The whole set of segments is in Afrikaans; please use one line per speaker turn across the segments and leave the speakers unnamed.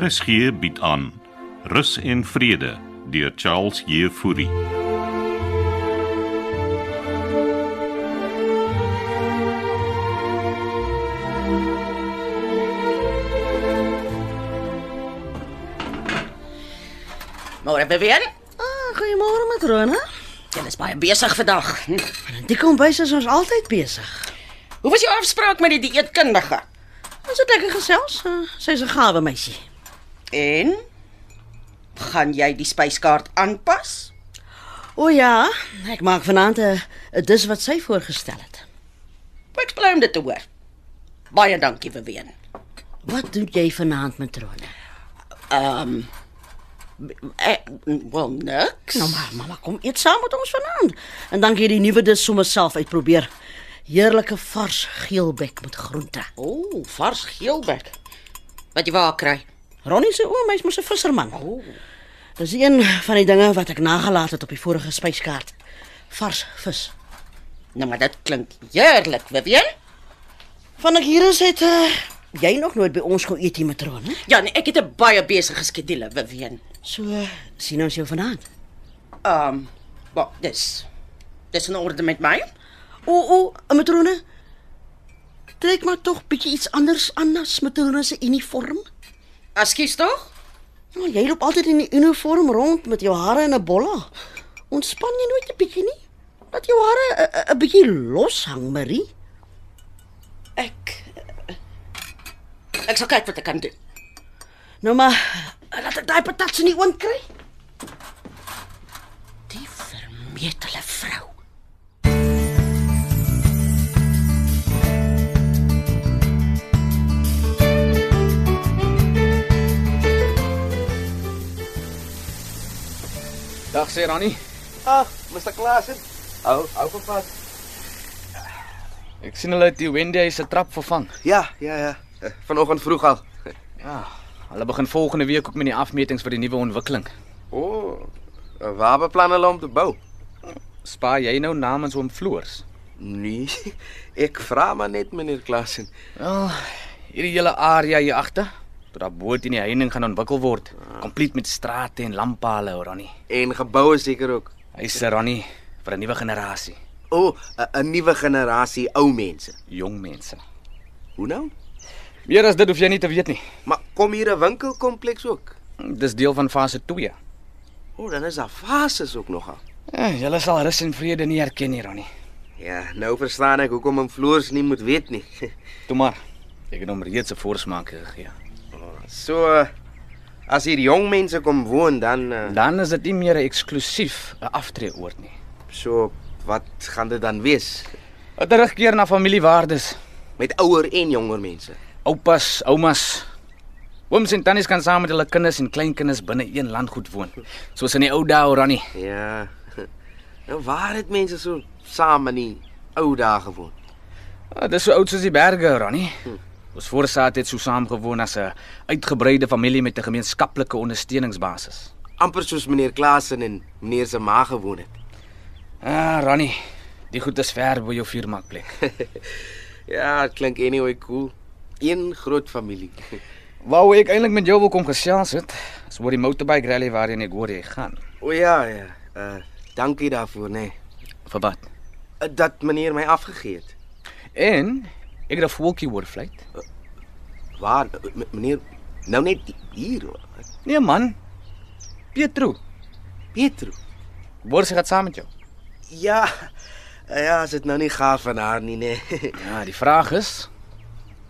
RSG bied aan Rus en Vrede deur Charles Jefouri.
Môre Vivian.
Ah, goeiemôre matrone.
Jy is baie besig vandag. Hm.
Die kombuis is ons altyd besig.
Hoe was jou afspraak met die dieetkundige?
Ons het lekker gesels. Uh, Sy's 'n gawe meisie.
En gaan jy die spyskaart aanpas?
O Oh ja, ek maak vanaand 'n 'n dis wat sy voorgestel het.
Ek bly om dit te hoor. Baie dankie Vivian.
Wat doen jy vanaand matrone?
Ehm um, ek Eh, wel niks.
Nou maar, mamma, kom eet saam met ons vanaand. En dan gee jy die nuwe dis sommer self uitprobeer. Heerlike vars geelbek met groente.
O, oh, vars geelbek. Wat jy waar kry.
Ronnie se oom, hy's mos 'n visserman. Oh. Dis een van die dinge wat ek nagelaat het op die vorige spyskaart. Vars vis.
Nou maar dit klink heerlik, Vivian.
Van ek hier is het uh, jy nog nooit by ons gaan eet hier matrone.
Ja, nee, ek het 'n baie besige skedule, Vivian.
So uh, sien ons jou vanaand.
Ehm, um, wat dis? Dis in orde met my?
O o, 'n matrone. Trek maar tog bietjie iets anders aan as matrone se uniform.
Ekskuus tog?
Nou, jy loop altyd in die uniform rond met jou hare in 'n bolla. Ontspan jy nooit 'n bietjie nie? Laat jou hare 'n- 'n- 'n bietjie los hang, Marie.
Ek Ek sal kyk wat ek kan doen.
Nou maar, laat ek daai patats in die oond kry.
Die vermetele vrou.
Dag sê Ronnie.
Ag, Mr. Klaasen. Hou, hou van vas.
Ek sien hulle het die Wendy se trap vervang.
Ja, ja, ja. Eh, Vanoggend vroeg al.
Ja, hulle begin volgende week ook met die afmetings vir die nuwe ontwikkeling.
O, oh, waar beplan hulle om te bou?
Spa jy nou namens hom floors?
Nee, ek vra maar net meneer Klaasen.
Wel, hierdie hele area hier agter, tot daar bo teen die heining gaan ontwikkel word, kompleet met strate en lamppale, Ronnie.
En geboue seker ook.
Hy's Ronnie vir 'n nuwe generasie,
O, oh, 'n nuwe generasie ou mense.
jong mense.
Hoe nou?
Meer as dit hoef jy nie te weet nie.
Maar kom hier 'n winkelkompleks ook.
Hm, Dis deel van fase 2.
O, oh, dan is daar fases ook nogal.
Eh, Julle sal rus en vrede nie herken nie, Ronnie.
Ja, nou verstaan ek hoekom hom floors nie moet weet nie.
Toe maar. Ek het hom reeds 'n voorsmaak gegee.
So eh, as hier jong mense kom woon dan eh,
Dan is dit nie meer 'n eksklusief 'n aftreeoord nie.
so wat gaan dit dan wees?
'n Terugkeer na familiewaardes.
Met ouer en jonger mense.
Oupas, oumas. Ooms en tannies kan saam met hulle kinders en kleinkinders binne een landgoed woon, soos in die ou dae, Oranje.
Ja. Nou waar het mense so saam in die ou dae gewoon?
Ah, dis so oud soos die berge, Oranje. Ons voorsaat het so saam gewoon as 'n uitgebreide familie met 'n gemeenskaplike ondersteuningsbasis.
amper soos meneer Klasen en meneer se ma gewoon het.
Ah, Oranje, die goed is ver by jou vuurmaakplek.
Ja, dit klink anyway cool. Een groot familie.
Wou ek eintlik met jou wil kom gesels het, is oor die motorbike rally waarheen ek hoor jy gaan.
O ja, ja. Uh dankie daarvoor, nê. Nee.
Vir wat?
Uh, Dat meneer my afgegee het.
En ek het 'n voeltjie hoor fluit.
Waar uh, m- meneer nou net hier. hoor.
Nee man. Pietro,
Pietro.
hoor sy gaan saam met jou.
Ja. Uh, ja, as dit nou nie gaaf van haar nie, nê. Nee.
Ja, die vraag is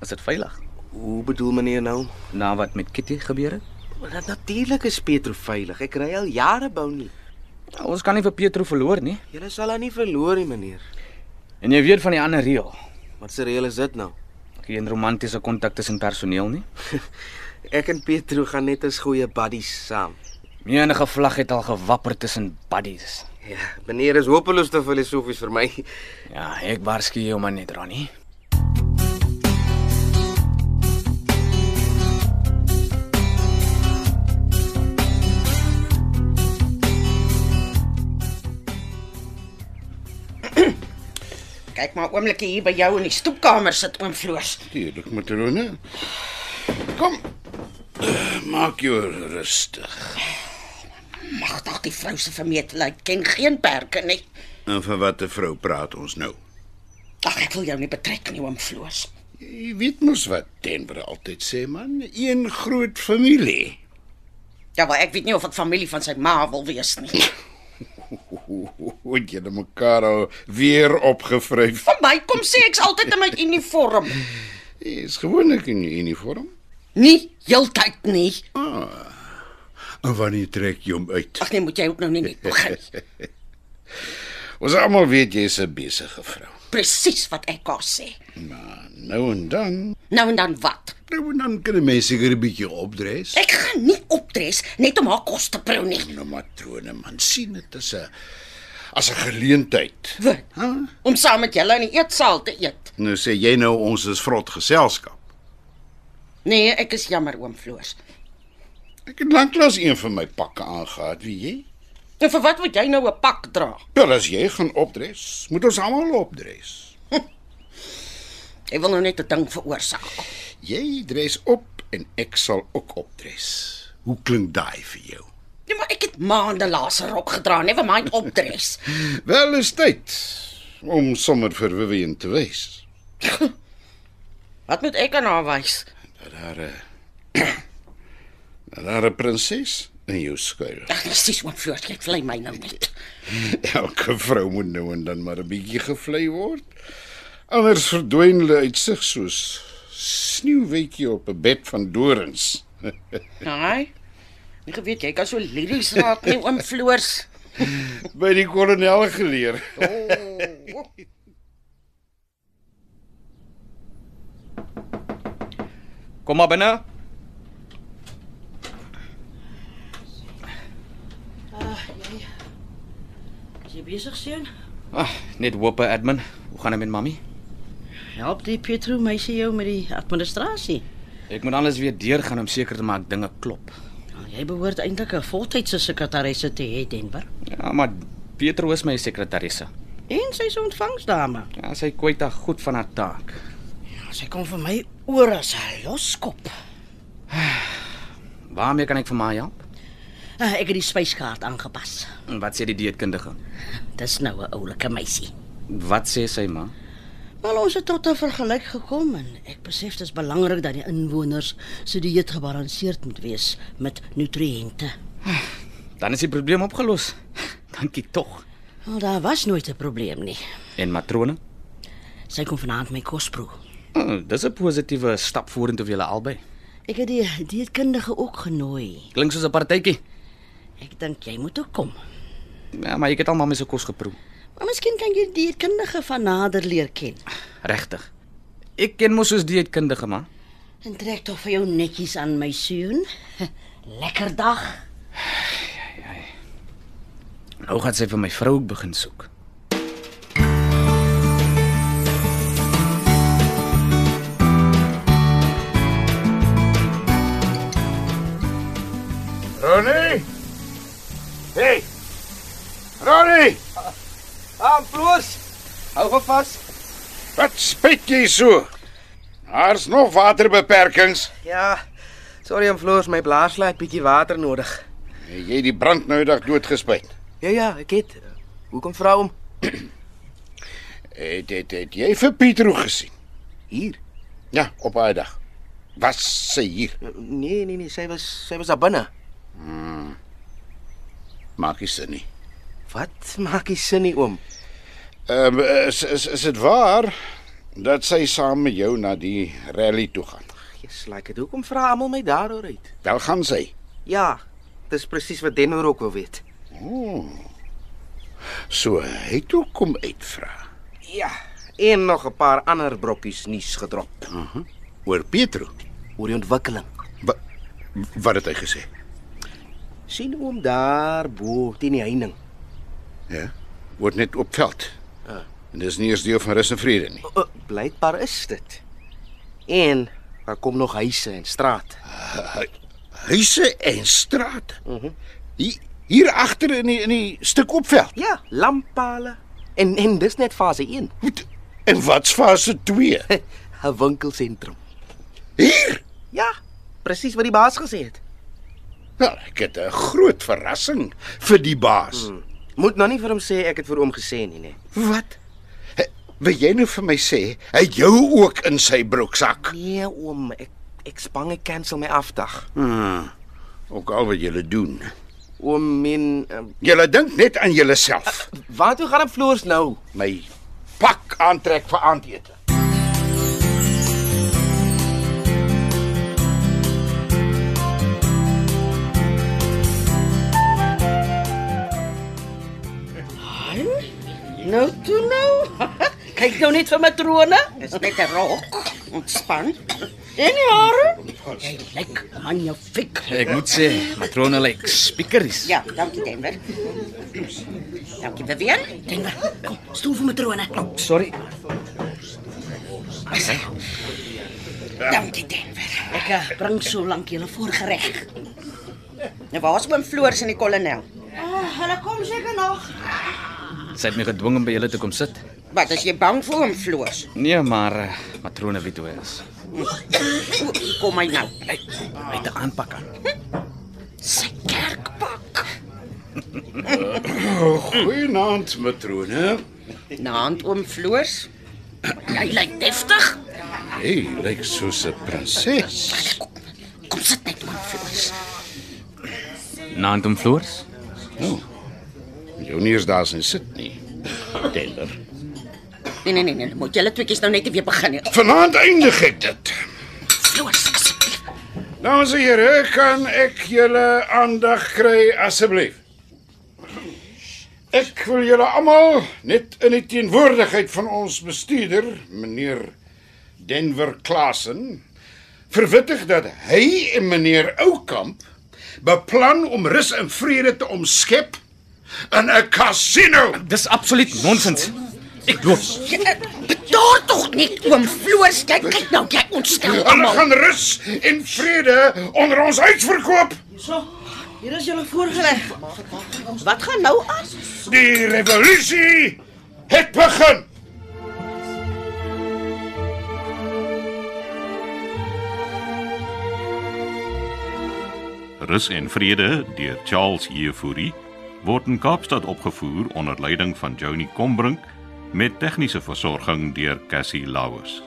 is dit veilig?
Hoe bedoel meneer nou?
Na wat met Kitty gebeur het?
Maar dat natuurlik is Pietro veilig. Ek ry al jare bou nie.
Ja, ons kan nie vir Pietro verloor nie.
Jy sal haar nie verloor nie, meneer.
En jy weet van die ander reël.
Wat se reël is dit nou?
Geen romantiese kontak tussen personeel nie.
Ek en Pietro gaan net as goeie buddies saam.
Menige vlag het al gewapper tussen buddies.
Ja, meneer is hopeloos te filosofies vir my.
Ja, ek waarsku jou maar net, Ronnie.
Kyk maar oomblikie hier by jou in die stoepkamer sit oom Floors.
Tuurlik, matrone. Kom. Eh, Maak jou rustig.
Mag dalk die vrou se vermetelheid ken geen perke nie.
En van watter vrou praat ons nou?
Ag, ek wil jou nie betrek nie, oom Floors.
Jy weet mos wat Denver altyd sê man, een groot familie.
Ja, maar ek weet nie of dit familie van sy ma wil wees nie.
Moet jy dan mekaar al weer opgevryf.
Vir my kom sê ek's altyd in my uniform.
Jy's gewoonlik in uniform.
Nie heeltyd nie.
En wanneer trek jy hom uit?
Ag nee, moet jy ook nou nie net begin.
Ons almal weet jy's 'n besige vrou.
Presies wat ek haar sê.
Maar nou en dan,
Nou en dan wat?
nou en dan kan 'n mens seker 'n bietjie opdres.
Ek gaan nie opdres net om haar kos te proe nie.
Nou matrone man, sien dit as 'n as 'n geleentheid.
Wat? Om saam met julle in die eetsaal te eet.
Nou sê jy nou ons is vrot geselskap.
Nee, ek is jammer oom Floors.
Ek het lanklaas een van my pakke aangehad, weet jy?
En vir wat moet jy nou 'n pak dra?
Wel as jy gaan opdres, moet ons almal opdres.
Jy wil nou net 'n ding veroorsaak.
Jy dres op en ek sal ook opdres. Hoe klink daai vir jou?
Ja, maar ek het maande laas 'n rok gedra, never mind opdres.
Wel is tyd om sommer verwijdend te wees.
Wat moet ek aan haar wys?
Dat daar 'n dat daar 'n eh, prinses in jou skuil.
Ag, Ja, presies oom Floors, jy vlei my nou net.
Elke vrou moet nou en dan maar 'n bietjie gevlei word. Anders verdwyn hulle uit sig soos sneeuwwitjie op 'n bed van dorings.
Nee. Ek geweet jy kan so liries raak nie oom Floors.
By die kolonel geleer.
Kom maar binne.
Is jy besig seun?
Ag, net hoop, eh, admin. Hoe gaan dit met mami?
Help die Pietro meisie jou met die administrasie.
Ek moet alles weer deurgaan om seker te maak dinge klop.
Nou, Jy behoort eintlik 'n voltydse sekretaresse te hê, Denver.
Ja, maar Pietro is my sekretarisse.
En sy's 'n ontvangsdame.
Ja, sy kwyt haar goed van haar taak.
Nou, sy kom vir my oor as 'n loskop.
Waarmee kan ek vir my help?
Ah, Ek het die spyskaart aangepas.
En wat sê die dieetkundige?
Dis nou 'n oulike meisie.
Wat sê sy ma?
Wel ons het tot 'n vergelyk gekom en ek besef dit is belangrik dat die inwoners se dieet gebalanseerd moet wees met nutriënte.
Dan is die probleem opgelos. Dankie tog.
Wel daar was nooit 'n probleem nie.
En matrone?
Sy kom vanaand my kos proe.
Oh, dis 'n positiewe stap vorentoe vir julle albei.
Ek het die dieetkundige ook genooi.
Klink soos 'n partytjie.
Ek dink jy moet ook kom.
Ja, maar ek het al mamma se kos geproe.
Maar miskien kan jy die dieetkundige van nader leer ken.
Regtig. Ek ken mos soos dieetkundige man.
En trek tog vir jou netjies aan my seun. Lekker dag.
Nou gaan sy vir my vrou ook begin soek.
Ronnie! Hey! Ronnie!
Ah, Floors. Hou gou vas.
Wat spyt jy so? Daar's nog waterbeperkings.
Ja. Sorry, aan Floors, my blaarslaai het bietjie water nodig.
Het Jy die brand nou dag doodgespyt.
Ja ja, ek het. Hoekom vra hom?
Het, het het jy vir Pietro gesien?
Hier.
Ja, op daai dag. Was sy hier?
Nee, nee, nee, sy was sy was daar binne.
Maak nie sin nie.
Wat maak jy sin nie, oom?
Ehm is is is dit waar dat sy saam met jou na die rally toe gaan?
Jesus, like dit. Hoekom vra almal my daaroor uit?
Wel gaan sy.
Ja, dis presies wat Denver ook wil weet.
So, hy toe kom uitvra
Ja, en nog 'n paar ander brokkies nuus gedrop
oor Pietro.
oor die ontwikkeling.
Wa, wat het hy gesê?
sien oom daar bo teen die heining. eh,
Ja. Word net op veld. En dis nie eers deel van rus en vrede nie.
Uh, blykbaar is dit. En daar kom nog huise en straat.
Huise en strate. Mhm. Hier hier agter in die in die stuk opveld.
Ja, lamppale. En en dis net fase 1,
Goed. En wat's fase 2?
'n winkelsentrum.
Hier.
Ja, presies wat die baas gesê het.
Wel, Nou, ek het 'n groot verrassing vir die baas.
Moet nou nie vir hom sê ek het vir hom gesê nie, nee.
Wat? He, wil jy nou vir my sê hy het jou ook in sy broeksak?
Nee, oom, ek ek spang ek cancel my afdag.
Hmm. Ook al wat julle doen.
Oom min um,
Julle dink net aan julleself.
waartoe gaan op floors nou?
My pak aantrek vir aandete.
Nou toe nou. Kyk nou net vir matrone.
Dis net 'n rok.
Ontspan. En die hare?
Jy lyk magnifiek.
Ek moet sê, matrone lyk like spiekeries.
Ja, dankie Denver. dankie Vivian.
Denver, kom, stoel vir matrone.
Sorry.
Dankie Denver.
Ek eh, bring so lank julle voorgereg.
Nou waar's oom Floors en die kolonel?
Ah, hulle kom seker nog.
Sy het my gedwing om by julle te kom sit.
Wat as jy bang vir oom Floors?
Nee, maar eh, matrone weet hoe hy is.
O, Kom hy nou.
Hy hy het 'n aanpak aan.
Sy kerkpak.
Goeienaand, matrone.
Naand oom Floors.
Jy lyk deftig.
Hey, jy lyk soos 'n prinses.
Kom sit net oom Floors.
Naand om floors.
Nou. Jou nie eens daar sin sit nie. Tender.
Nee nee nee nee, moet julle tweeetjies nou net nie weer begin nie.
Vanaand eindig ek dit.
Floors asseblief.
Dames en here, kan ek julle aandag kry asseblief? Ek wil julle almal net in die teenwoordigheid van ons bestuurder, meneer Denver Klasen, verwittig dat hy en meneer Oukamp beplan om rus en vrede te omskep in 'n casino.
Dis absoluut nonsens. Ek los.
Betaar tog net oom Floors. Jy kyk nou, jy ontstel
Hulle
almal.
gaan rus en vrede onder ons huis verkoop.
So. Hier is julle voorgereg. Wat gaan nou aan?
Die revolusie het begin.
Rus en Vrede deur Charles Jefouri word in Kaapstad opgevoer onder leiding van Johnny Combrink met tegniese versorging deur Cassie Lauers.